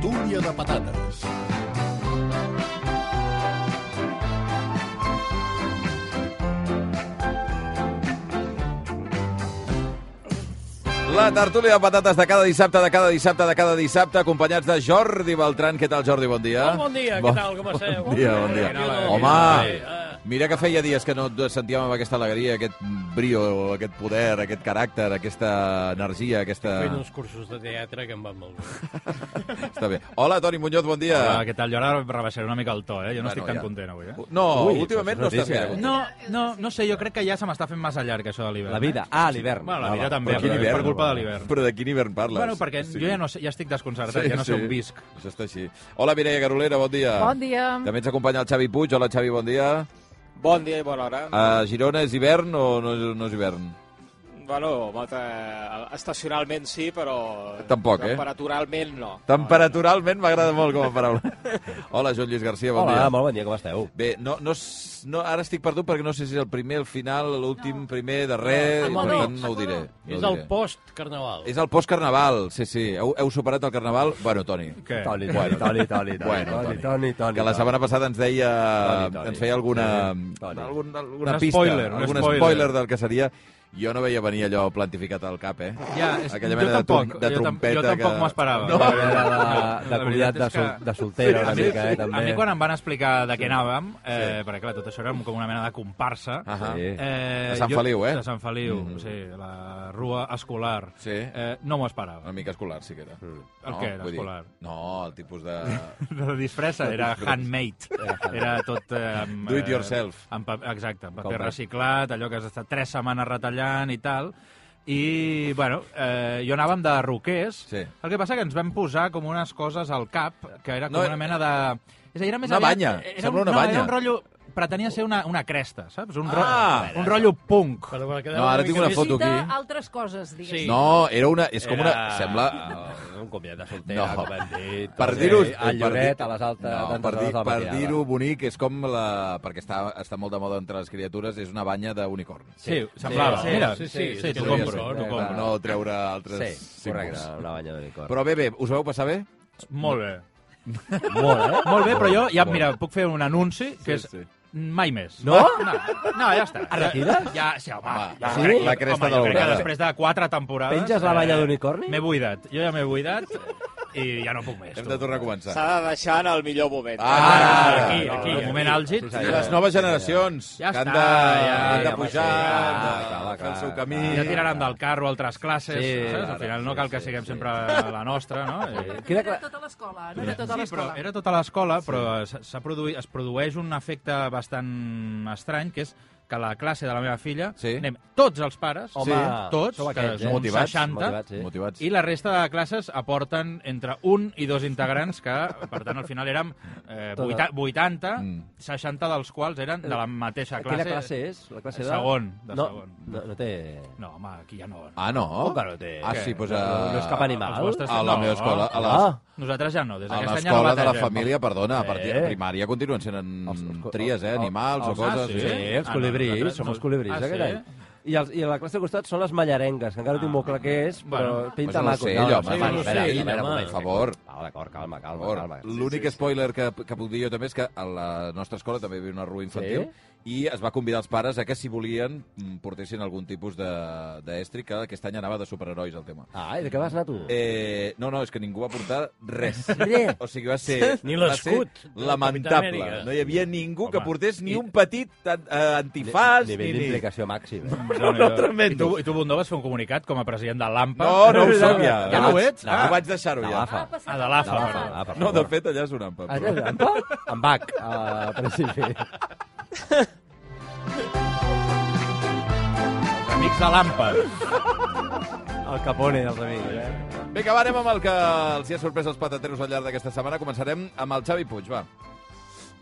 tortilla de patates. La tertúlia de patates de cada dissabte, de cada dissabte, de cada dissabte, acompanyats de Jordi Beltran. Què tal, Jordi? Ah, Bon dia. Bon dia, què tal, com esteu? Bon dia, bon dia. doncs. Eh, Home, mira que feia dies que no et sentíem amb aquesta alegria, aquest brio, aquest poder, aquest caràcter, aquesta energia, aquesta... Fent uns cursos de teatre que em van molt bé. Està bé. Hola, Toni Muñoz, bon dia. Hola, què tal? Jo ara rebaixaré una mica el to, eh? Jo no Bueno, estic tan ja. content avui, eh? No, últimament no estàs gaire. No, no, no sé, jo crec que ja se m'està fent massa llarg, això de l'hivern. eh? La vida. Ah, l'hivern. Bueno, la Ah, vida va. també, Però quin però, és hivern? per culpa de l'hivern. Però de quin hivern parles? Bueno, perquè jo ja, no sé, ja estic desconcertat, ja no sé on visc. Això està així. Hola, Mireia Garolera, bon dia. Bon dia. També ens acompanya el Xavi Puig. Hola, Xavi, bon dia. Bon dia i bona hora. Ah. A Girona és hivern o no és, no és hivern? Bueno, mata- estacionalment sí, però... Tampoc, eh? Temperaturalment no. Temperaturalment m'agrada molt com a paraula. Hola, Joan Lluís Garcia, bon Hola, dia. molt bon dia, com esteu? Bé, no, no, s- no, ara estic perdut perquè no sé si és el primer, el final, l'últim, primer, darrer... per Amb el tant, mig, no ho diré. No És ho el diré. post-carnaval. És el postcarnaval, sí, sí. Heu, heu superat el carnaval? Bueno, Toni. Què? Toni, Toni, Toni, Toni, Toni, Bueno, Toni, Toni. Toni, Toni, Que la setmana passada ens deia... Toni, Toni. Ens feia alguna, Toni. algun, alguna Un pista, spoiler, un algun spoiler. spoiler del que seria... Jo no veia venir allò plantificat al cap, eh? Ja, és- Aquella jo mena de, tampoc, trom- de jo tam- trompeta jo tampoc Eh, que... m'ho esperava. No, La Era de, de La convidat veritat de, és sol, que- de soltera, una A mi, mica, eh, també. a mi quan em van explicar de què anàvem, eh, perquè clar, tot això era com una mena de comparsa, Ahà. Sí. eh, De Sant jo- Feliu, eh? De Sant Feliu, sí, la rua escolar. Sí. Eh, no m'ho esperava. Una mica escolar, sí que era. Mm. El què era Vull dir, escolar? No, el tipus de... La disfressa era handmade. Era tot... Eh, amb, Do it eh, yourself. Amb, pa- exacte, amb paper Compra. reciclat, allò que has estat tres setmanes retallant i tal. I, bueno, eh, jo anàvem de roquers. Sí. El que passa que ens vam posar com unes coses al cap, que era com No, no, una mena de... És a dir, era més una aviat- banya. Era Sembla un, una no, banya. Era un rotllo... Pretenia ser una, una cresta, saps? Un, Ah! un rotllo punk. Però per quedar No, ara una tinc mica una més- foto Necessita aquí. altres coses, diguéssim. Sí. No, era una... És com una... Sembla... Un convidat de soltera, No. com hem dit. Per Sí, dir-ho... per Al Lloret, dir- a les altes... No, tantes per, dir, hores del per matinada. dir-ho bonic, és com la... Perquè està, està molt de moda entre les criatures, és una banya d'unicorn. Sí, semblava. sí, Mira, sí, sí, sí, sí, t'ho podria compro, ser. t'ho Eh, compro. Per no treure altres Sí, correcte, una banya d'unicorn. Però bé, bé, us vau passar bé? Molt bé. Molt, eh? Molt bé, però jo ja, mira, puc fer un anunci, que és sí. mai més. No? No, no ja està. Et retires? Ja, sí, home. Va, ja, sí? crec- La cresta home, jo crec daurada. que després de quatre temporades... Penges la banya eh, d'unicorni? M'he buidat. Jo ja m'he buidat i ja no puc més. Hem tu. de tornar a començar. S'ha de deixar en el millor moment. Ah, Ara, Ara, aquí, no, aquí, no, el moment àlgid. I les noves generacions Ja que han està, de, ja, han de ja va pujar, ser, han de clar, clar, fer el seu clar, camí... Ja tiraran del carro altres classes, Sí, saps? Al ara, final no sí, cal que sí, siguem sí. sempre la nostra, no? I- Queda Era clar... tota l'escola, no era tota Sí, però l'escola. era tota l'escola, però s- s'ha produït, es produeix un efecte bastant estrany, que és que a la classe de la meva filla Sí. anem tots els pares, Home, tots, sou aquells, que eh? són Motivats, 60, motivats, sí. Motivats. i la resta de classes aporten entre un i dos integrants, que, per tant, al final érem eh, Tota. vuita- 80, Mm. Eh, 60 dels quals eren de la mateixa classe. Quina classe és? La classe de... Segon, de no, segon. No, no té... No, home, aquí ja no. Ah, no? que no té? Ah, Què? sí, doncs... No, no és cap animal. Els vostres- A la no. meva escola, a la, Ah, Nosaltres ja no, des A d'aquest any ja no l'escola de la bategem. família, perdona, a partir de Eh? primària continuen sent en Els- els- tries, eh, els- animals o els- ah, coses. sí? Sí, els Ah, no, colibrís, nosaltres som no- els colibrís, Ah, ah, aquest sí? any. I, els, I a la classe del costat són les mallarengues, que encara no tinc molt clar què és, però Bueno. pinta Però és un maco. ocell, home, espera, un espera, ocell, espera, home, un moment. per favor. Ah, d'acord, calma, Per calma, favor, calma. L'únic spoiler que, que puc dir jo també és que a la nostra escola també hi havia una rua infantil i es va convidar els pares a que, si volien, mm, portessin algun tipus de- d'estri, que aquest any anava de superherois, el tema. Ah, i de què vas anar tu? Eh, no, no, és que ningú va portar res. Res. O sigui, va ser, Ni va ser l'escut del Capità lamentable. Amèrica. No hi havia ningú que Home, portés ni un petit eh, antifàs, ni, Nivell ni, d'implicació màxim. eh? No, no, tremendo. I tu, I tu, Bundó, vas fer un comunicat com a president de l'AMPA? No, no ho soc ja. Ja no ho ets? No, ho vaig deixar-ho De ja. l'AFA. passat Ah, de l'AFA, per perdó. Ah, per No, de favor. fet, allà és un àmpat. Ah, però- ja, en Bac? En Bac, a Ah, principi. Els amics de l'AMPA. El Capone dels amics, eh? Vinga, va, anem amb el que els hi ha sorprès als patateros al llarg d'aquesta setmana. Començarem amb el Xavi Puig, va.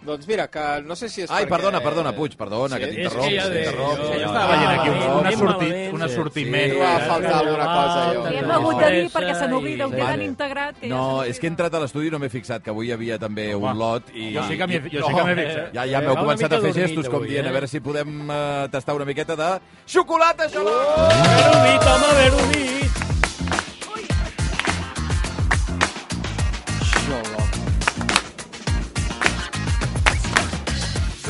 Doncs mira, que no sé si és Ai, perquè... perdona, perdona, Puig, perdona, Sí, que és t'interromp. que ja que de- t'interromp. jo- Sí, Jo no. estava veient aquí Ah, malament, un, ben assortit, malament, un sí. assortiment. Sí, va faltar alguna cosa, jo. Hem No. hagut de dir perquè Estressa se n'oblida, ho i- tenen Sí. integrat. Que ja se No, n'oblida. és que he entrat a l'estudi i no m'he fixat, que avui hi havia també Home, un lot. I... jo sí que m'hi- jo sí que m'he fixat. Ja, ja Eh, m'heu va una començat a mica fer dormit gestos, com avui, dient, eh? a veure si podem eh, tastar una miqueta de xocolata gelada. Haver-ho dit, home, haver-ho dit.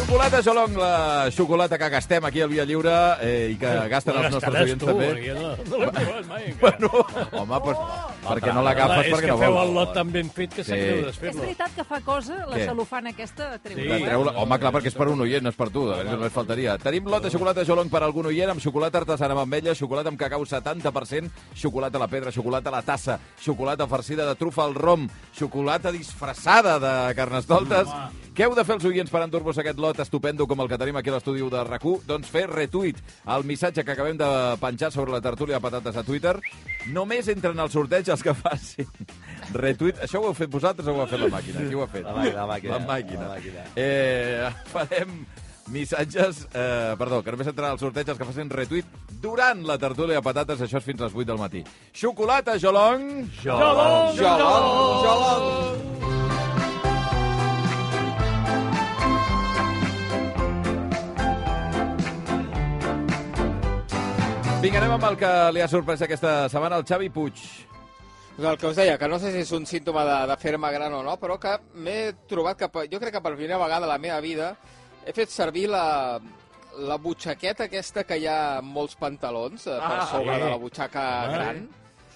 Xocolata Xolong, la xocolata que gastem aquí al Via Lliure eh, i que gasten els nostres Gastaràs oients tu, també. perquè No, no l'he provat mai, encara. Bueno, home, pues, perquè no Clar, l'agafes Oh. és perquè que no feu vols. el lot tan ben fet que sap Sí. greu És desfer-lo. veritat que fa cosa la Què? cel·lofana aquesta treu. Sí. La Sí. treu la... Home, clar, perquè és per un oient, no és per tu. A veure, només faltaria. Tenim lot de xocolata Jolong per algun oient amb xocolata artesana amb ametlla, xocolata amb cacau 70%, xocolata a la pedra, xocolata a la tassa, xocolata farcida de trufa al rom, xocolata disfressada de carnestoltes. Què heu de fer els oients per endur-vos aquest lot estupendo com el que tenim aquí a l'estudi de rac Doncs fer retuit al missatge que acabem de penjar sobre la tertúlia de patates a Twitter. Només entren al sorteig els que facin retuit. Això ho heu fet vosaltres o ho ha fet la màquina? Qui ho ha fet? La màquina, la màquina. La màquina. La màquina. Eh, farem missatges... Eh, perdó, que només entraran al sorteig els que facin retuit durant la tertúlia de patates. Això és fins a les 8 del matí. Xocolata, Jolong! doncs, Xolong, Jolong, jolong. Vinga, anem amb el que li ha sorprès aquesta setmana, el Xavi Puig. Doncs el que us deia, que no sé si és un símptoma de, de fer-me gran o no, però que m'he trobat que, per- jo crec que per primera vegada a la meva vida he fet servir la, la butxaqueta aquesta que hi ha en molts pantalons eh, per Ah, sobre sí. de la butxaca gran.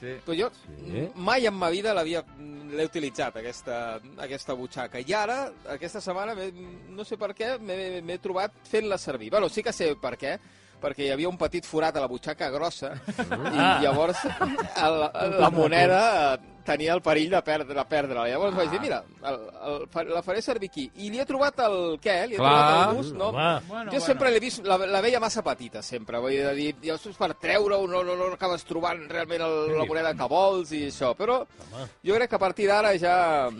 Sí. Però jo Sí. mai en ma vida l'havia mm, l'he utilitzat, aquesta, aquesta butxaca. I ara, aquesta setmana, m'he- no sé per què, m'he m'he trobat fent-la servir. Bueno, sí que sé per què, perquè hi havia un petit forat a la butxaca grossa i llavors el, la moneda eh, tenia el perill de perdre de perdre-la. Llavors vaig dir, mira, el, el, fa- la faré servir aquí. I li he trobat el què? Li he Clar. trobat el gust, no? Home, Bueno, jo sempre l'he vist, la, la veia massa petita, sempre. Vull dir, i els per treure-ho no, no, no acabes trobant realment el, la moneda que vols i això. Però jo crec que a partir d'ara ja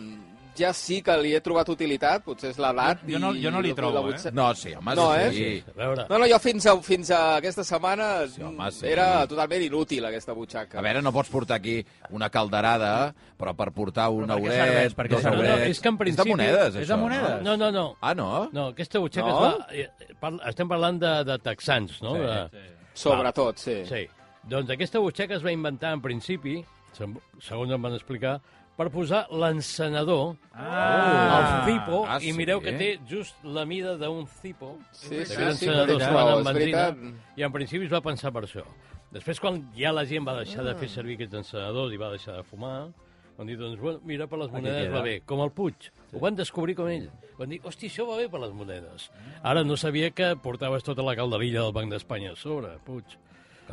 ja sí que li he trobat utilitat, potser és l'edat. Jo- jo no- i jo no li la- trobo, la butxa- No, sí, home, No, eh? sí. a veure, No, no, jo fins a, fins a aquesta setmana Sí, home, sí. era totalment inútil, aquesta butxaca. A veure, no pots portar aquí una calderada, però per portar un Però per què auret, serveix? Per què dos serveix? aurets... No, no, és que en És de principi- monedes, això. és de monedes. no, no, no. Ah, no? No, aquesta butxaca No? no? es va... eh, Parla, estem parlant de, de texans, no? de, Sobretot, sí. sí. Doncs aquesta butxaca es va inventar en principi, sem- segons em van explicar, per posar l'encenador Ah. al cipo, Ah, i mireu sí? que té just la mida d'un cipo, Sí, sí, d'aquests sí, encenedors veritat, que van és amb benzina, veritat. i en principi es va pensar per això. Després, quan ja la gent va deixar de fer servir aquests encenedors i va deixar de fumar, van dir, doncs, bueno, mira, per les monedes queda. va bé, com el Puig. Ho van descobrir com ell. Van dir, hosti, això va bé per les monedes. Ara no sabia que portaves tota la calderilla del Banc d'Espanya a sobre, Puig.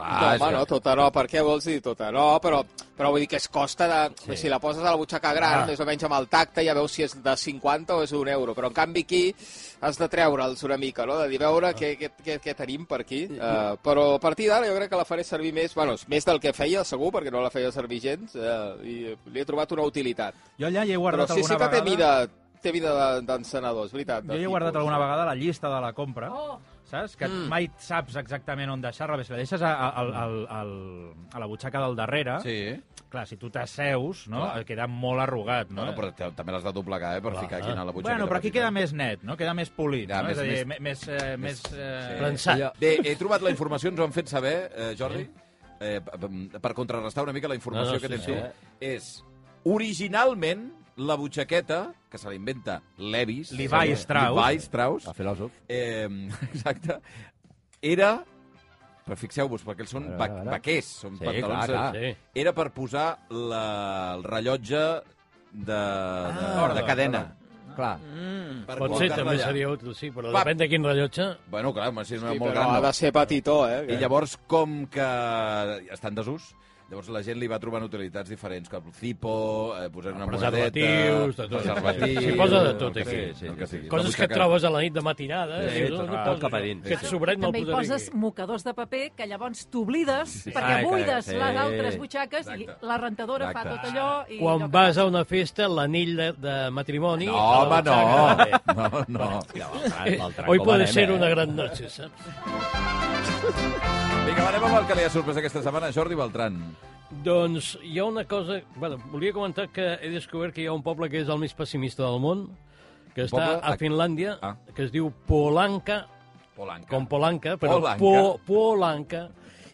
Ah, no, home, no, tota no, per què vols dir tota no? Però, però vull dir que es costa de... Sí. Si la poses a la butxaca gran, Ah. més o menys amb el tacte, ja veus si és de 50 o és un euro. Però, en canvi, aquí has de treure'ls una mica, no? De dir, Ah. veure què, què, què, què tenim per aquí. Mm-hmm. Uh, però a partir d'ara jo crec que la faré servir més... Bueno, més del que feia, segur, perquè no la feia servir gens. Uh, I li he trobat una utilitat. Jo allà hi he Però guardat sí, sí alguna que té vegada... mida, té vida de- d'encenedor, és veritat. de Jo hi he tipus. guardat alguna vegada la llista de la compra, Oh. saps? Que mai saps exactament on deixar-la. Bé, si la deixes a, a, al- al- al- a la butxaca del darrere, Sí. clar, si tu t'asseus, no? Clar. queda molt arrugat, no? No, no, però te- també l'has de doblegar, eh, per ficar aquí a la butxaca. Bueno, però aquí queda més net, no? Queda més polit, Ja, no? més- és a dir, més... més, eh, més eh, Prensat. Bé, he trobat la informació, ens ho han fet saber, eh, Jordi, eh, p- p- per contrarrestar una mica la informació No, no, que sí, tens sí. eh. tu. És, originalment, la butxaqueta, que se la inventa Levis... Levi Strauss. Levi Strauss. A filòsof. Eh, exacte. Era però fixeu-vos, perquè ells són A veure, va a veure. vaquers, són Sí, pantalons... clar, clar. de- Sí. Era per posar la, el rellotge de, de, ah, de ordre, cadena. Clar. Per Pot ser, col·locar-la també allà. seria útil, sí, però Va. depèn de quin rellotge. Bueno, clar, home, si no Sí, molt però gran, ha no. de ser petitó, eh? I llavors, com que està en desús, llavors la gent li va trobant utilitats diferents, com el cipo, eh, posar una monedeta... Preservatius, de tot. Preservatius... S'hi posa de tot, el que aquí. sigui, el que sigui. Coses La que et butxaca- trobes a la nit de matinada. Sí, eh, dius, tot "On ho cap- poso, cap a això?" dins. Aquest sobret me'l També hi posaré poses aquí. mocadors de paper que llavors t'oblides perquè Ah, que- buides sí. les altres butxaques Exacte. i la rentadora Exacte. fa tot allò i allò Quan que vas a passa. una festa, l'anell de, de matrimoni... No, a la home, butxaca. Eh, no! No, no. Ah, Hoy puede Eh, eh? ser una gran noche, saps? Vinga, va, anem amb el que li ha sorprès aquesta setmana, Jordi Beltran. Doncs hi ha una cosa... Bueno, volia comentar que he descobert que hi ha un poble que és el més pessimista del món, que està poble? a Finlàndia, Ah. que es diu Polanca, Polanca. com Polanca, però Polanca. Po, Polanca,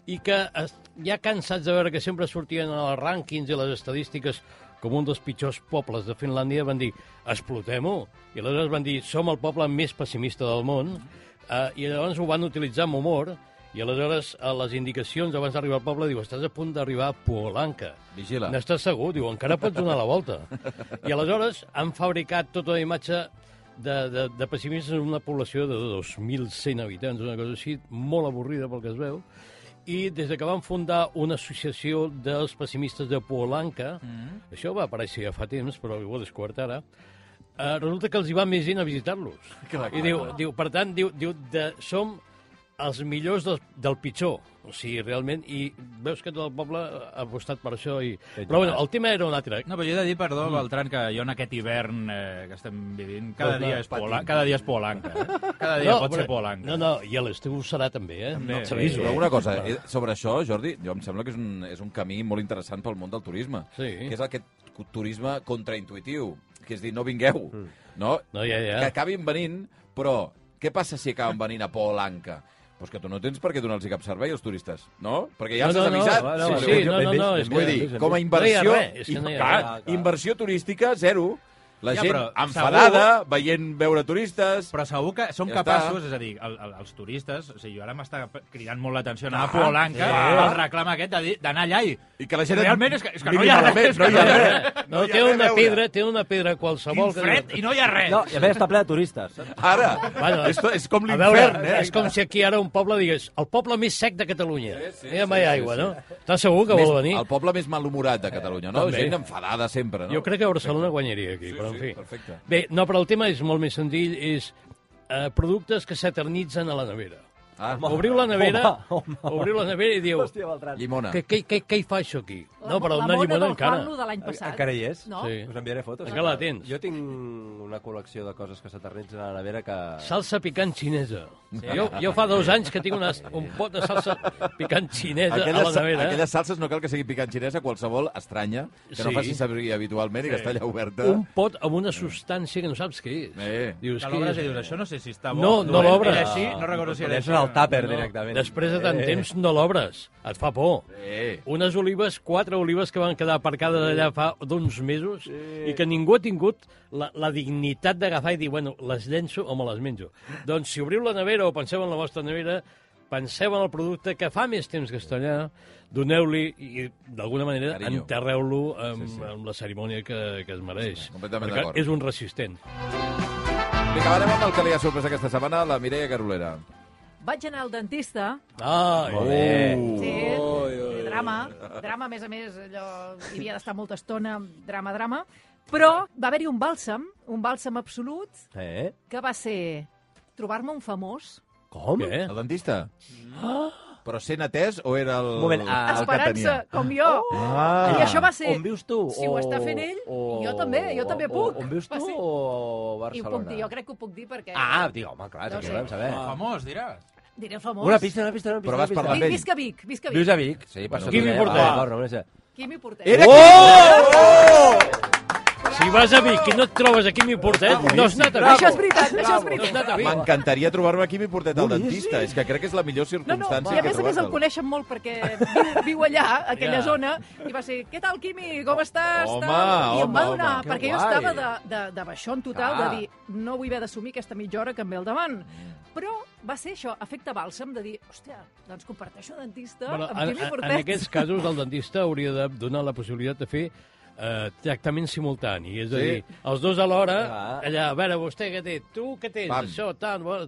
i que es, ja cansats de veure que sempre sortien en els rànquings i les estadístiques com un dels pitjors pobles de Finlàndia, van dir, explotem-ho. I aleshores van dir, som el poble més pessimista del món, eh, i llavors ho van utilitzar amb humor, i aleshores a les indicacions abans d'arribar al poble diu, estàs a punt d'arribar a Puolanca. Vigila. N'estàs segur? Diu, encara pots donar la volta. I aleshores han fabricat tota la imatge de, de, de pessimistes en una població de 2.100 habitants, una cosa així, molt avorrida pel que es veu, i des de que van fundar una associació dels pessimistes de Polanca, mm. això va aparèixer ja fa temps, però ho he descobert ara, eh, resulta que els hi va més gent a visitar-los. I diu, diu, per tant, diu, diu de, som els millors del, del pitjor. O sigui, realment, i veus que tot el poble ha apostat per això. I... Però bueno, el tema era un altre. No, però jo he de dir, perdó, Beltran, que jo en aquest hivern eh, que estem vivint, cada, Però, dia clar, és, pola, cada dia és polanca. Eh? Cada dia no, no, pot però- ser polanca. No, no, i a l'estiu ho serà també, eh? També, No et sí, servís, Però eh? una cosa, eh, sobre això, Jordi, jo em sembla que és un, és un camí molt interessant pel món del turisme, Sí. que és aquest turisme contraintuitiu, que és dir, no vingueu, Mm. no? No, ja, ja. Que acabin venint, però què passa si acaben venint a Polanca? Pues que tu no tens per què donar-los cap servei als turistes, no? Perquè ja els No, has no, no, avisat. no, no, sí, no, no, no, és Vull que- dir, com a No inversió, hi ha res, és que no hi ha clar, res. inversió turística, zero. La Ja, gent però enfadada, veient veure turistes... Però segur que són Ja ja capaços, està. és a dir, el, el, els turistes... O sigui, jo ara m'està cridant molt l'atenció anar a Clar, Polanca, Ah, sí. el reclam aquest de dir- d'anar allà i... I que la gent... Realment és que- és que no miri hi ha res, malament, és no hi que ha no hi ha res. No, hi ha té res a una veure. pedra, té una pedra qualsevol... Quin fred i no hi ha res! No, i a més està ple de turistes. Ara, Bueno, és, és com A veure, l'infern, eh? és com si aquí ara un poble digués el poble més sec de Catalunya. Sí, sí, ja mai sí, sí, sí, aigua, sí. no? Estàs segur que Més- vol venir? Eh, El poble més malhumorat de Catalunya, no? També. Gent enfadada sempre, no? Jo crec que Barcelona guanyaria aquí, Sí, però en sí, fi. perfecte. Bé, no, però el tema és molt més senzill, és eh, productes que s'eternitzen a la nevera. Ah, Obriu la nevera, home. obriu la nevera i diu Hòstia, Beltran. Llimona. què, què, què, què hi fa això aquí? La- No, però la una mona llimona del Juanlo encara. de l'any passat. Encara hi és? No? Sí. Us enviaré fotos. Encara la tens. Jo tinc una col·lecció de coses que s'eternitzen a la nevera que... Salsa picant xinesa. Jo, jo fa dos anys que tinc una, un pot de salsa picant xinesa Aquelles, a eh? la nevera. aquelles salses no cal que sigui picant xinesa, qualsevol estranya, que no Sí. faci servir habitualment i que està allà oberta. Un pot amb una substància que no saps què és. Eh. Dius, Que què l'obres és? i dius, això no sé si està bo. No, no dolent, l'obres. Era així, no recordo si era Coneixes així. el tàper No. directament. Després de tant Eh, temps no l'obres, et fa por. Eh. Unes olives, quatre olives que van quedar aparcades allà fa d'uns mesos i que ningú ha tingut la, la dignitat d'agafar i dir, bueno, les llenço o me les menjo. Doncs si obriu la nevera o penseu en la vostra nevera, penseu en el producte que fa més temps que està allà, doneu-li i d'alguna manera Carinyo. enterreu-lo amb, sí, sí. amb la cerimònia que, que es mereix. completament Perquè d'acord. És un resistent. Vinga, va, anem amb el que li ha sorprès aquesta setmana, la Mireia Carolera. Vaig anar al dentista. Ah, Sí, Uh. Oi, oi, sí, oi. drama. Drama, a més a més, allò... Hi havia d'estar molta estona, drama, drama. Però va haver-hi un bàlsam, un bàlsam absolut, Oh! Eh? que va ser trobar-me un famós Com? oh, Què? El dentista? Però sent atès o era el, Un moment, ah, el que Esperança, tenia? com jo. Ah. I això va ser... On vius tu? Si ho està fent ell, jo també, jo també puc. O, on vius Va tu ser- o I ho Barcelona? puc dir, jo crec que ho puc dir perquè... Ah, digue, home, clar, No no sé. volem saber. Ah. Famós, diràs. Diré famós. Una pista, una pista, una pista. Però vas una pista. parlar amb Vic, ell. visca Vic, visca Vic. Vius a Vic? Sí, per Bueno, sota. Quimi eh? Portet. Ah, d'acord, no, no sé. Quimi Portet. Era oh! Si vas a Vic i no et trobes aquí mi Ah, portet, no has anat a Vic. Això és veritat, això és No has veritat. anat a Vic. M'encantaria trobar-me aquí mi portet al dentista. És que crec que és la millor No, no, circumstància i a que més a més el trobar-te'l. coneixen molt perquè viu, viu allà, a aquella Ja. zona, i va ser, què tal, Quimi, com estàs? Oh, Home, tal?" I em va home, donar, home. perquè Que jo guai. estava de, de, de baixón total, Clar. de dir, no vull haver d'assumir aquesta mitja hora que em ve al davant. Però va ser això, efecte bàlsam, de dir, hòstia, doncs comparteixo dentista Bueno, amb en, Quimi en, Portet. en aquests casos, el dentista hauria de donar la possibilitat de fer eh, tractament simultani. És a Sí. dir, els dos alhora, Ah. allà, a veure, vostè què té? Tu què tens? Pam. Això, tant... Bo...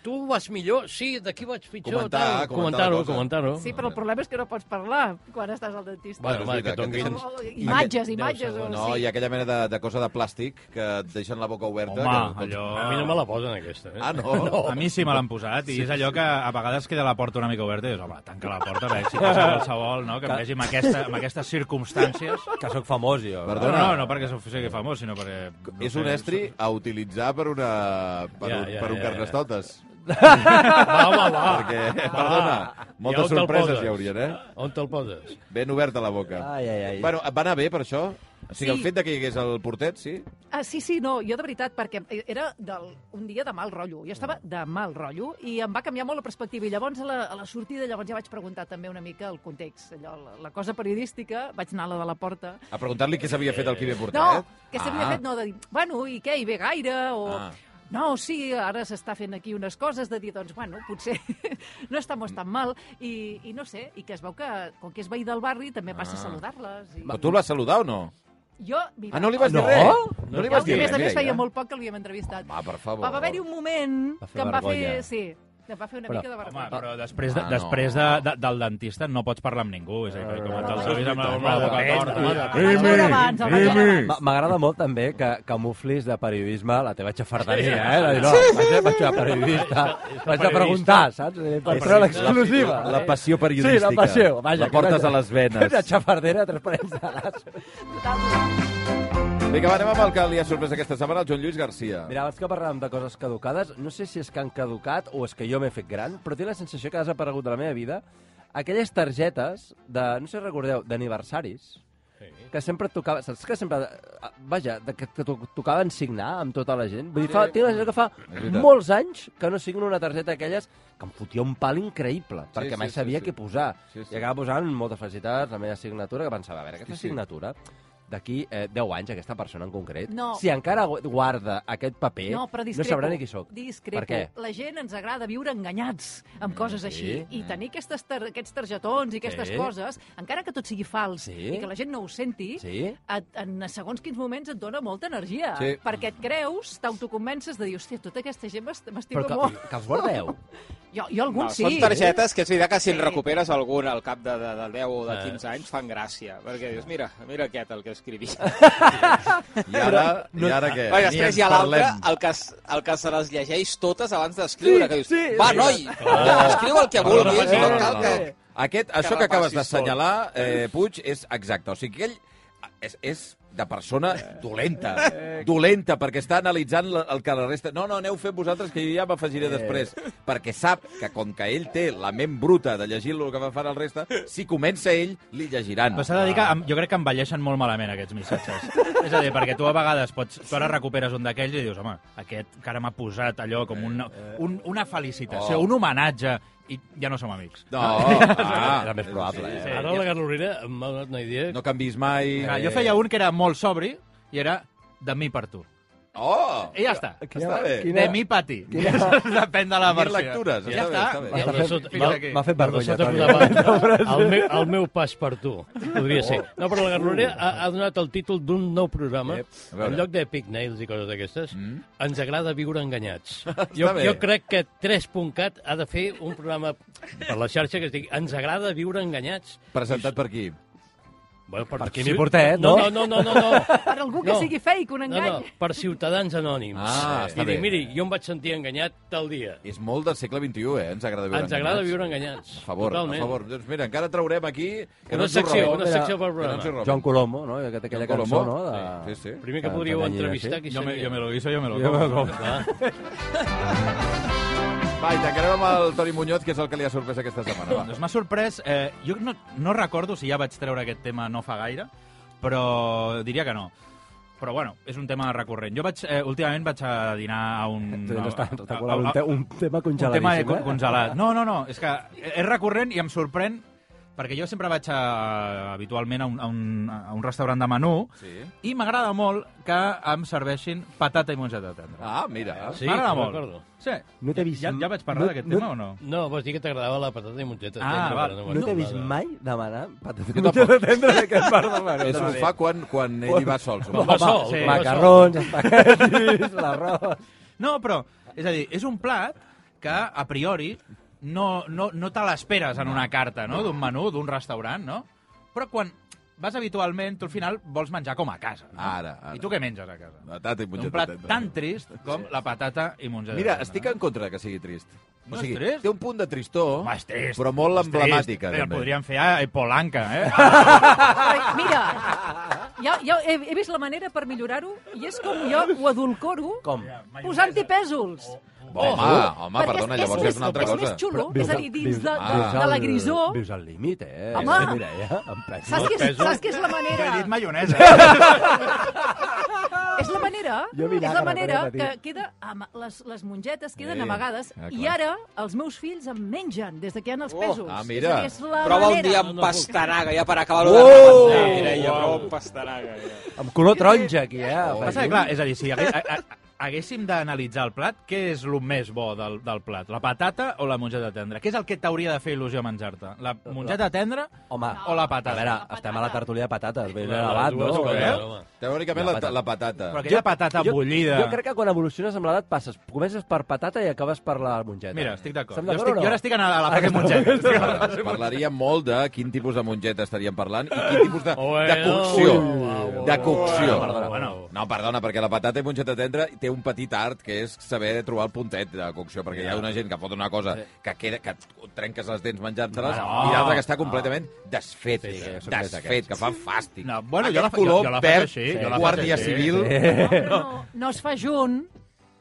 Tu vas millor? Sí, d'aquí vaig pitjor. Comentar, comentar la tal. Comentar-ho, cosa. comentar-ho. Sí, però el problema és que no pots parlar quan estàs al dentista. Bueno, Bueno, va, és que veritat, que tonguin... tens- O- o- imatges, deu imatges. o segons. No, sí. i aquella mena de, de cosa de plàstic que et deixen la boca oberta. Home, que, allò... A mi no me la posen, aquesta. Eh? Ah, no? no. A mi sí me l'han posat, i és allò que a vegades queda la porta una mica oberta i dius, home, tanca la porta, a veure si passa qualsevol, no?, que em vegi amb, aquesta, amb aquestes circumstàncies. Que sóc famós, jo. Perdó. No, no, no perquè sóc- sigui famós, sinó perquè... no És sé, un estri a utilitzar per, una, per, Ja, un, ja, per un ja, ja. carnestotes. Va, home, va. Perquè, perdona, moltes on te'l sorpreses poses? hi haurien, eh? On te'l poses? Ben oberta la boca. Ai, ai, ai. Bueno, et va anar bé per això? O sigui, el Sí. fet de que hi hagués el portet, sí? Ah, sí, sí, no, jo de veritat, perquè e, era del, un dia de mal rotllo. Jo estava de mal rotllo i em va canviar molt la perspectiva. I llavors, a la, a la sortida, llavors ja vaig preguntar també una mica el context. Allò, la, la cosa periodística, vaig anar a la de la porta. A preguntar-li què s'havia fet el Quive Portet? No, que s'havia Ah. fet, no, de dir, bueno, i què, hi ve gaire, o... Ah. No, sí, ara s'està fent aquí unes coses de dir, doncs, bueno, potser no estamos tan mal, i, i no sé, i que es veu que, com que és veí del barri, també passa Ah. a saludar-les. I... Però tu l'has saludar o no? Jo, mira, Ah, no li vas dir No. res? No No li ja, vas a dir més res, a més, feia Mireia? molt poc que l'havíem entrevistat. Va, per favor. Va, va haver-hi un moment Va fer que em va vergonya. fer... Sí, que em va fer una Però, mica de Home, vergonya. però després, de, Ah, no. després de, de, del dentista no pots parlar amb ningú, és a dir, com Ah, els avis amb la, amb la boca El vaig torta. veure abans, el vaig veure abans. Ma- M'agrada molt també que camuflis de periodisme la teva xafarderia, eh? De dir, no, vaig, vaig a periodista, vaig a preguntar, saps? Eh, Per treure l'exclusiva. La passió periodística. Sí, la passió. Vaja, La portes a les venes. Una xafardera, tres parells de les... Vinga, va, anem amb el que li ha sorprès aquesta setmana, el Joan Lluís Garcia. Mira, abans que parlàvem de coses caducades, no sé si és que han caducat o és que jo m'he fet gran, però tinc la sensació que ha desaparegut de la meva vida aquelles targetes de, no sé si recordeu, d'aniversaris, que sempre et tocava, saps que sempre, eh, vaja, de que que to- tocaven signar amb tota la gent? Vull dir, fa, tinc la sensació que fa veritat. molts anys que no signo una targeta d'aquelles que em fotia un pal increïble, Sí, perquè sí, mai sí, sabia sí. què posar. Sí, sí. I acaba posant moltes felicitats, la meva signatura, que pensava, a veure, aquesta Sí, sí. signatura d'aquí eh, 10 anys, aquesta persona en concret, No. si encara gu- guarda aquest paper, No, però no discrepo. sabrà ni qui sóc. Discrepo. Per què? La gent ens agrada viure enganyats amb coses sí, així. I tenir aquestes tar aquests targetons i aquestes Sí. coses, encara que tot sigui fals Sí. i que la gent no ho senti, Sí? et, en segons quins moments et dona molta energia. Sí. Perquè et creus, t'autoconvences de dir, hòstia, tota aquesta gent m'est- Però m'estima que, molt. que els guardeu. Jo, jo algun No, sí. Ah, Són targetes que és veritat que si en Sí. recuperes alguna al cap de, de, de 10 o de Eh. 15 anys fan gràcia, perquè dius, mira, mira aquest el que escrivia. I ara, i ara què? Vaja, Ni després ens hi ha l'altre, parlem. el, que es- el que se les llegeix totes abans d'escriure. Sí, que dius, sí, és va, veritat. noi, escriu el que vulguis, No, no no, cal no, que... no. Aquest, això que repassis acabes tot. d'assenyalar, eh, Puig, és exacte. O sigui, que ell és, és de persona dolenta. Eh. Dolenta, perquè està analitzant la- el que la resta... No, no, aneu fent vosaltres, que jo ja m'afegiré Eh. després. Perquè sap que com que ell té la ment bruta de llegir el que va fer el resta, si comença ell, li llegiran. Però s'ha de dir que em- jo crec que envelleixen molt malament aquests missatges. és a dir, perquè tu a vegades pots... Tu ara recuperes un d'aquells i dius, home, aquest que ara m'ha posat allò com una, Eh, un, una felicitació, Oh. un homenatge, i ja no som amics. No, ah, Era més probable, eh? Sí. Ara la Carolina m'ha donat una idea. No canvis mai. eh. Clar, jo Eh. feia un que era molt sobri i era de mi per tu. Oh! I ja està. Està bé. quina- De mi per ti. Depèn de la Quines versió. lectures, Ja està bé, està bé. està. M'ha fet- Fins aquí. M'ha fet vergonya, Sota Toni. una banda, el, meu, el meu pas per tu, podria ser. No, però la Garrolera ha, ha donat el títol d'un nou programa. Ep, a veure. En lloc de Epic Nails i coses d'aquestes, Mm. ens agrada viure enganyats. Jo, bé. jo crec que 3.cat ha de fer un programa per la xarxa que es digui Ens agrada viure enganyats. Presentat per aquí. Bueno, per, Per Quimi eh? Portet, No, no, no, no, no. Per algú que No. sigui fake, un No, engany. no, per ciutadans anònims. Ah, està I dir, bé. miri, jo em vaig sentir enganyat tal dia. És molt del segle XXI, eh? Ens agrada viure Ens agrada viure enganyats. A favor, Totalment. a favor. Doncs mira, encara traurem aquí... Que Una ens ho secció, robin. una Mira, secció per Que no ens ho programa. robin. Joan Colombo, no? Que té aquella Joan cançó, Colomó. no? De... Sí, sí, sí. Primer que Que podríeu t'enganyin entrevistar, així. qui Jo me, seria? yo me lo guiso, yo me lo Jo como. me lo como. Ah. Va, i tancarem amb el Toni Muñoz, que és el que li ha sorprès aquesta setmana. Va. Doncs m'ha sorprès... Eh, jo no, no recordo si ja vaig treure aquest tema no fa gaire, però diria que no. Però bueno, és un tema recurrent. Jo vaig, eh, últimament vaig a dinar a un... Eh, Tu no estàs a- recordat a- un, a- te un tema un tema de congeladíssim, con- eh? congelat. No, no, no, és que és recurrent i em sorprèn perquè jo sempre vaig a, habitualment a un, a, un, a un restaurant de menú Sí. i m'agrada molt que em serveixin patata i mongeta tendra. Ah, mira. Sí, m'agrada me'n molt. recordo. Sí. No t'he vist Ja, ja vaig parlar no- d'aquest no- tema o no? No, vols dir que t'agradava la patata i mongeta. Ah, tendra, val. No però No t'he m'agrada. vist mai demanar patates Jo i tampoc. mongeta tendra d'aquest bar de menú. És ho fa quan, quan ell hi va sol. Va, Home, va sol, sí. va sol. Macarrons, espaguetis, l'arròs... No, però, és a dir, és un plat que, a priori, no, no, no te l'esperes en una carta, no?, d'un menú, d'un restaurant, no? Però quan vas habitualment, tu al final vols menjar com a casa. No? Ara, ara. I tu què menges a casa? Patata i mongeta un plat tendra. tan trist com la patata i mongeta. Mira, tendra, estic no? en contra de que sigui trist. No o és sigui, trist? té un punt de tristor, Home, és trist. però molt és trist. emblemàtica. Però també. podríem fer a Polanca, eh? Però, mira, Ja, ja he, he vist la manera per millorar-ho i és com jo ho adulcoro Com? posant-hi pèsols. Home, Oh! home, Perquè perdona, és- és llavors ja és una altra més- És cosa. més xulo, és a dir, dins de, de, de la grisó, Vius al límit, eh? Home! Mireia, em penso. saps, que és, saps que és la He manera... dit maionesa. És la manera, Jo és vinagre, la manera també, que petit. queda ama, les, les mongetes queden Eh, amagades ah, clar. i ara els meus fills em mengen des de que hi ha els Oh, pesos. ah, mira. És, a dir, és la Prova un manera. dia No, amb no puc. pastanaga, ja per acabar-ho de rebentar, Mireia, Uau. prova amb pastanaga. Ja. Amb color taronja, aquí, eh? Passa que, clar, és a dir, si hagui- a- a- haguéssim d'analitzar el plat, què és el més bo del, del plat? La patata o la mongeta tendra? Què és el que t'hauria de fer il·lusió menjar-te? La mongeta tendra Home, o la a patata? veure, estem a la tertúlia de patates, ben elevat, no? Dues coses, Eh? home. Teòricament, La la, patata. la patata. Però aquella patata bullida... Jo crec que quan evoluciones amb l'edat passes, comences per patata i acabes per la mongeta. Mira, estic d'acord. Estem Jo, d'acord estic, o no? jo ara estic a la, a la fase mongeta. Estic a la fase Parlaria molt de quin tipus de mongeta estaríem parlant i quin tipus de, de Bueno. cocció. Ui. De cocció. Perdona, bueno. No, perdona, perquè la patata i mongeta tendra té un petit art, que és saber trobar el puntet de cocció, perquè hi ha una gent que fot una cosa que, queda, que et trenques les dents menjant-te-les No. i l'altra que està completament desfet, eh, Sí, jo sóc més desfet, que fa fàstic. No, bueno, Aquest jo la fa- jo- color jo la faig verd, així, jo la faig guàrdia així. civil... No, però no, no es fa junt.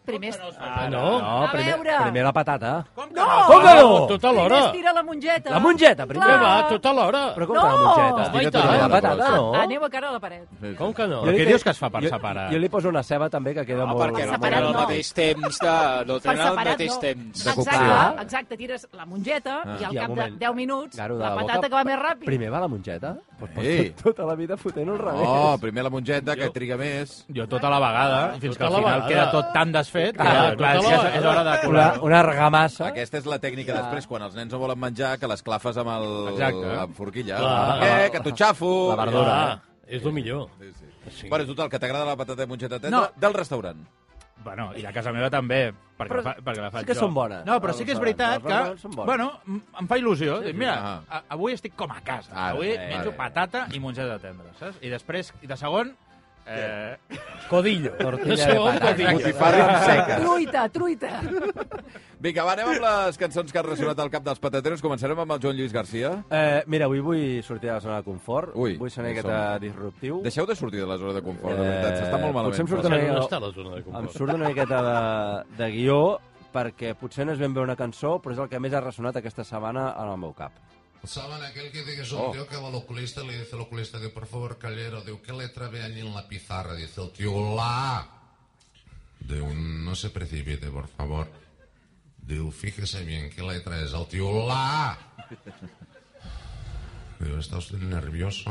Primer, Ah, no? No, A primer, veure. primer la patata. Com que No! Com que no? Tot a l'hora. primer es tira la mongeta. La mongeta, primer. Què Clar. va, tot a l'hora. Però com No! que la mongeta? Home, i Però tant. la patata, no? Aneu a cara a la paret. Com que no? Però Jo què li- dius que es fa per jo- separar? Jo li poso una ceba també, que queda Ah, molt... perquè molt- no separat tenen el no. mateix temps de... No Per tenen el separat, mateix no. temps. De Exacte, cocció. exacte, tires la mongeta i al I al cap de moment, 10 minuts Garo de la boca, patata que va més ràpid. Primer va la mongeta. Pues pots Sí. tot- tota la vida fotent al revés. Oh, primer la mongeta, que triga més... Jo tota la vegada, fins que al la final vegada. queda tot tan desfet que, clar, Clar, tota la és, que és- vegada. és hora de Una, colar. una argamassa. Aquesta és la tècnica ja. després, quan els nens no volen menjar, que les clafes amb el, Exacte. amb forquilla. Clar. Eh, que t'ho xafo! La verdura. Ah, eh? és el millor. Sí, sí. Sí. Bueno, total, que t'agrada la patata eh, de mongeta tendra No. del restaurant. Bueno, i a casa meva també, perquè, Però la, fa, perquè la faig que jo. són bones, No, però els sí que és restaurants, veritat els que, restaurants són bones. bueno, m- em fa il·lusió. Dic, mira, Ah. a- avui estic com a casa. Ara, avui eh, menjo ara. patata i mongeta de tendra, saps? I després, i de segon, eh, Codillo. Tortilla De segon de patata. codillo. Botifarra amb seca. Truita, truita. Vinga, va, anem amb les cançons que han ressonat al cap dels patateros. Començarem amb el Joan Lluís Garcia. Eh, mira, avui vull sortir de la zona de confort. Ui, vull ser una ja miqueta disruptiu. Deixeu de sortir de la zona de confort, de Eh, veritat. S'està molt malament. potser em surt Però una- no està a la zona de Em confort. surt una miqueta de, de guió perquè potser no és ben bé una cançó, però és el que més ha ressonat aquesta setmana en el meu cap. Saben aquel que dice sorteo que va al oculista y le dice al oculista, digo, por favor, Callero, digo, ¿qué letra ve allí en la pizarra? Dice el tío, la A. Digo, no se precipite, por favor. Digo, fíjese bien, ¿qué letra es? El tío, la A. Digo, ¿está usted nervioso?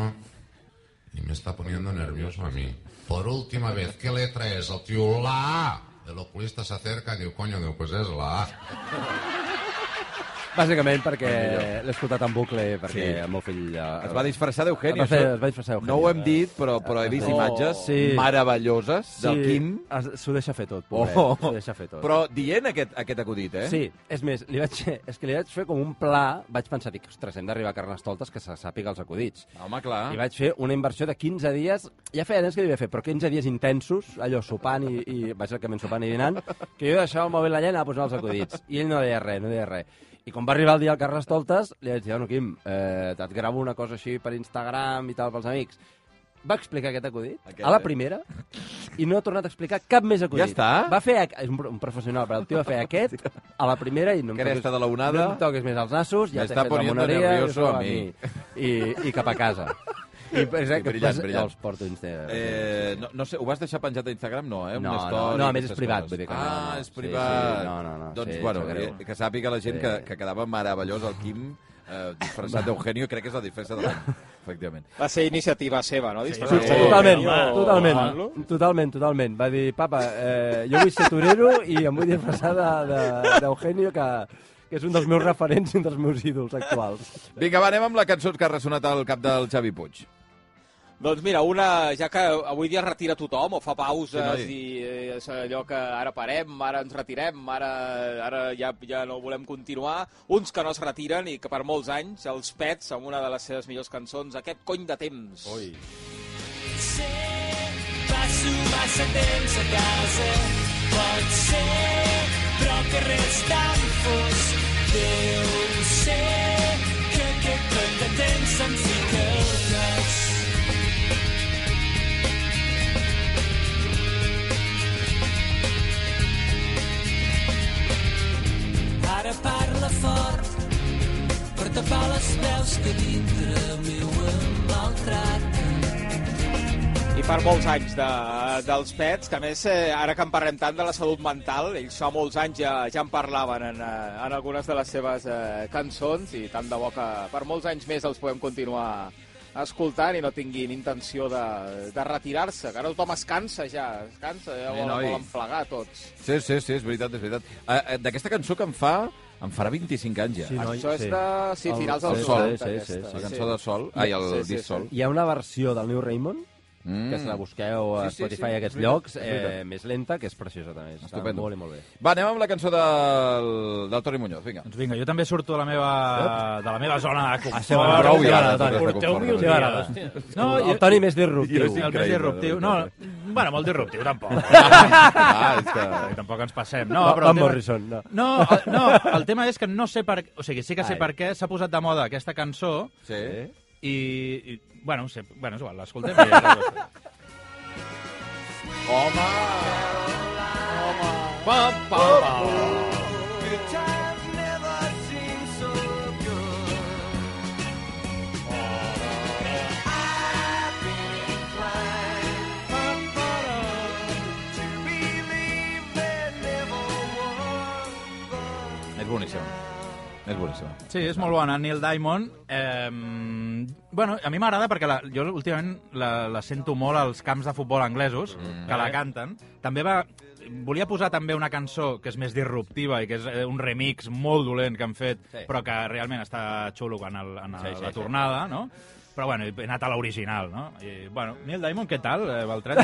Y me está poniendo nervioso a mí. Por última vez, ¿qué letra es? El tío, la A. El oculista se acerca y digo, coño, digo, pues es la A. Bàsicament perquè l'he escoltat en bucle perquè Sí. el meu fill... Eh, Es va disfressar d'Eugenio. Es va fer- això. es va disfressar d'Eugenio. No ho hem dit, però, però he vist Oh. imatges Sí. meravelloses del Quim. es- S'ho deixa fer tot, Oh. pobret. Oh. S'ho deixa fer tot. Però dient aquest, aquest acudit, eh? Sí, és més, li vaig, és que li vaig fer com un pla, vaig pensar, dic, ostres, hem d'arribar a Carnestoltes que se sàpiga els acudits. Home, clar. I vaig fer una inversió de 15 dies, ja feia temps que li havia fet, però 15 dies intensos, allò sopant i, i bàsicament sopant i dinant, que jo deixava el mòbil allà i anava posant els acudits. I ell no deia res, no deia res. I quan va arribar el dia al Carnestoltes, li vaig dir, bueno, Quim, eh, et gravo una cosa així per Instagram i tal pels amics. Va explicar aquest acudit Aquest, a la eh? primera i no ha tornat a explicar cap més acudit. Ja està? Va fer, aqu- és un, pro- un professional, però el tio va fer aquest a la primera i no em Cresta toquis- de la onada. No em toquis més els nassos, ja Me t'he está fet la poniendo moneria. nervioso i això a va mi. I, I cap a casa. I, és, Sí, que brillant, pas- brillant. Els porto a Instagram. Eh, no, no sé, ho vas deixar penjat a Instagram, no, eh? No, Una no, story, no, a més és aquestes privat, coses. vull dir que no, ah, no, és sí, privat. sí, no, no, no, Doncs, sí, bueno, sap greu. que, que sàpiga la gent Sí. que, que quedava meravellós el Quim eh, disfressat d'Eugenio, crec que és la disfressa de l'any, efectivament. Va ser iniciativa seva, no? Sí, eh, Sí, totalment, totalment, totalment, totalment. Va dir, papa, eh, jo vull ser torero i em vull disfressar de- de- d'Eugenio, que, que és un dels meus referents i un dels meus ídols actuals. Vinga, va, anem amb la cançó que ha ressonat al cap del Xavi Puig. Doncs mira, una, ja que avui dia es retira tothom o fa pauses Sí, sí, i eh, és allò que ara parem, ara ens retirem, ara, ara ja, ja no volem continuar, uns que no es retiren i que per molts anys els pets amb una de les seves millors cançons, aquest cony de temps. Oi. Passo massa temps a casa, pot ser, però que res tan fos. Deu ser que aquest cony de temps se'm fica al nas. les veus que dintre meu em maltraten. I per molts anys de, dels pets, que a més, eh, ara que en parlem tant de la salut mental, ells fa molts anys ja, ja en parlaven en, eh, en algunes de les seves eh, cançons i tant de bo que per molts anys més els podem continuar escoltant i no tinguin intenció de, de retirar-se, que ara tothom es cansa ja, es cansa, ja Eh, Bé, volen, noi. volen plegar tots. Sí, sí, sí, és veritat, és veritat. Ah, ah, D'aquesta cançó que em fa... Em farà 25 anys, ja. Sí, no? Noi, Això és sí. de... Sí, El- finals el dels Sol, 90, sí, sí, aquesta. La cançó de Sol. Ai, el Sí, sí, sí, disc sí. Sol. Hi ha una versió del New Raymond, mm. que se la busqueu a Sí, sí, Spotify sí, i és aquests veritat, llocs, és veritat. eh, més lenta, que és preciosa també. Està Ah, Estupendo. molt i molt bé. Va, anem amb la cançó del, del Toni Muñoz, vinga. Doncs vinga, jo també surto de la meva, de la meva zona de confort. Això va, prou, sí, ja, va, de Toni. totes Porteu-m'hi un Sí, dia, ara. hòstia. No, El, jo, Toni més disruptiu. Jo sí. el més Increïble, disruptiu. de No, eh? veritat. bueno, molt disruptiu, tampoc. Ah, és Eh, que... Tampoc ens passem. No, No, però Van el tema, Morrison, no. no, el, no, el tema és que no sé per... O sigui, sí que sé Ai. per què s'ha posat de moda aquesta cançó Sí. i... i bueno, sé, bueno, és igual, l'escoltem. i ja és igual. Home! Pam, pam, pam. És boníssim. És boníssim. Sí, és molt bona, Neil Diamond. Eh, bueno, a mi m'agrada perquè la, jo últimament la, la sento molt als camps de futbol anglesos, mm. que la canten. També va... Volia posar també una cançó que és més disruptiva i que és eh, un remix molt dolent que han fet, sí. però que realment està xulo en, el, en sí, sí, la tornada, no? Però bueno, he anat a l'original, no? I, bueno, Neil Diamond, què tal, eh, Beltran?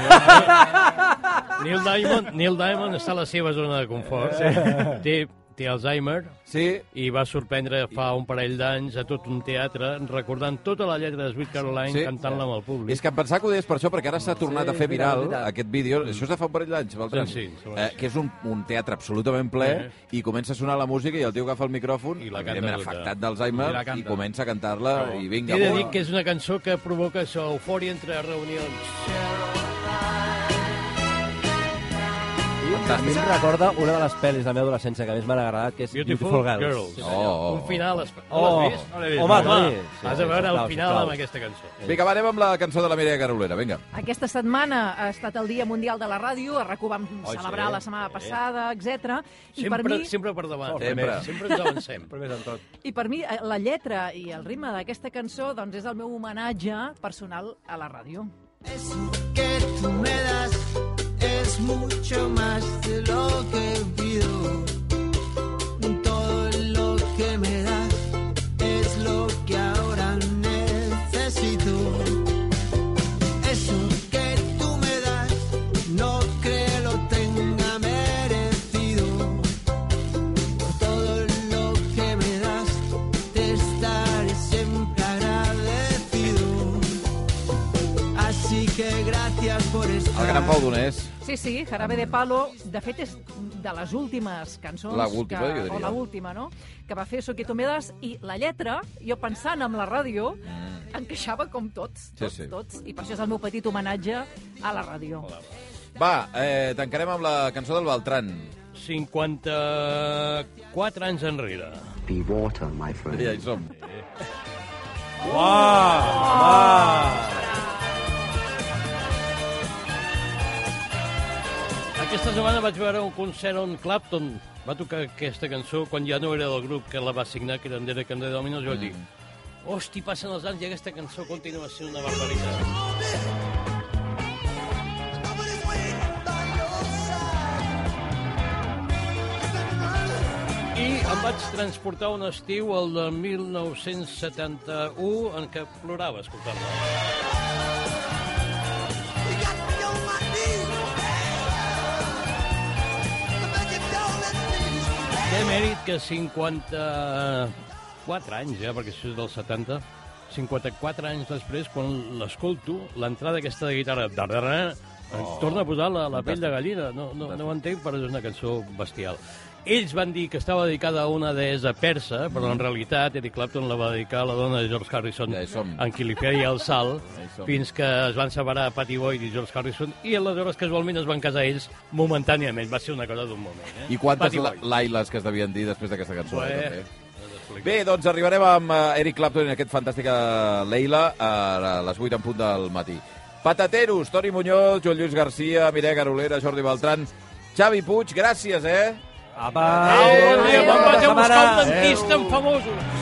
Neil Diamond, Neil Diamond està a la seva zona de confort. Sí. Té, té Alzheimer Sí, i va sorprendre fa un parell d'anys a tot un teatre recordant tota la lletra de Sweet Caroline Sí. sí. cantant-la amb el públic. és que em pensava que ho deies per això, perquè ara s'ha tornat a fer viral, viral viral. aquest vídeo. Això és de fa un parell d'anys, Beltran. Sí, sí, segons. eh, que és un, un teatre absolutament ple i comença a sonar la música i el tio agafa el micròfon, I la canta evidentment tota. afectat d'Alzheimer, I la i, canta. comença a cantar-la i vinga. He de bum. dir que és una cançó que provoca això, eufòria entre reunions. A mi em recorda una de les pel·lis de la meva adolescència que més m'han agradat, que és Beautiful, Girls. Sí, Oh, senyor. oh, Un final... Es... Oh, Oh, l'has vist? No l'he vist, home, no. Home, Toni. sí, has de sí, veure el sisplau, final sisplau. amb aquesta cançó. Vinga, va, anem amb la cançó de la Mireia Carolera, vinga. Aquesta setmana ha estat el Dia Mundial de la Ràdio, a RAC1 vam Oi, celebrar sí, Eh. la setmana passada, etc. I per Sempre, mi... sempre per davant. Sempre. Sempre ens avancem. Però més en tot. I per mi eh, la lletra i el ritme d'aquesta cançó doncs, és el meu homenatge personal a la ràdio. Eso que tú me das es mucho más de lo que pido. Todo lo que me das es lo que ahora necesito. Eso que tú me das no creo lo tenga merecido. Todo lo que me das te estaré siempre agradecido. Así que gracias por El gran estar. Pau Donés. Sí, sí, Jarabe de Palo, de fet és de les últimes cançons, La última, que, jo diria. o la última, no? que va fer Soquito Medas, i la lletra, jo pensant en la ràdio, encaixava com tots, tots, Mm. sí. tots, i per això és el meu petit homenatge a la ràdio. Va, eh, tancarem amb la cançó del Beltran. 54 anys enrere. Be water, my friend. Ja hi som. Aquesta setmana vaig veure un concert on Clapton va tocar aquesta cançó quan ja no era del grup que la va signar, que era en Derek and the Dominos, i vaig dir, hosti, passen els anys i aquesta cançó continua sent una barbaritat. I em vaig transportar un estiu, el de 1971, en què plorava escoltant-la. Té mèrit que 54 anys, ja, perquè això és del 70, 54 anys després, quan l'escolto, l'entrada aquesta de guitarra... darrarà, Oh. em torna a posar la, la pell de gallina. No, no, no ho entenc, però és una cançó bestial. Ells van dir que estava dedicada a una deessa persa, però en realitat Eric Clapton la va dedicar a la dona de George Harrison, Mm. Ja hi som. en qui li feia el salt, Ja hi som. fins que es van separar Patty Boyd i George Harrison, i aleshores casualment es van casar ells momentàniament. Va ser una cosa d'un moment. Eh? I quantes Patty la Boyd. lailes que es devien dir després d'aquesta cançó? eh, Bé, també? explica. Bé, doncs arribarem amb eh, Eric Clapton i aquest fantàstic eh, Leila a les 8 en punt del matí. Patateros, Toni Muñoz, Joan Lluís Garcia, Mireia Garolera, Jordi Beltran, Xavi Puig, gràcies, eh? Apa! Adéu, adéu, Bona me'n vaig a buscar setmana. el dentista en famosos.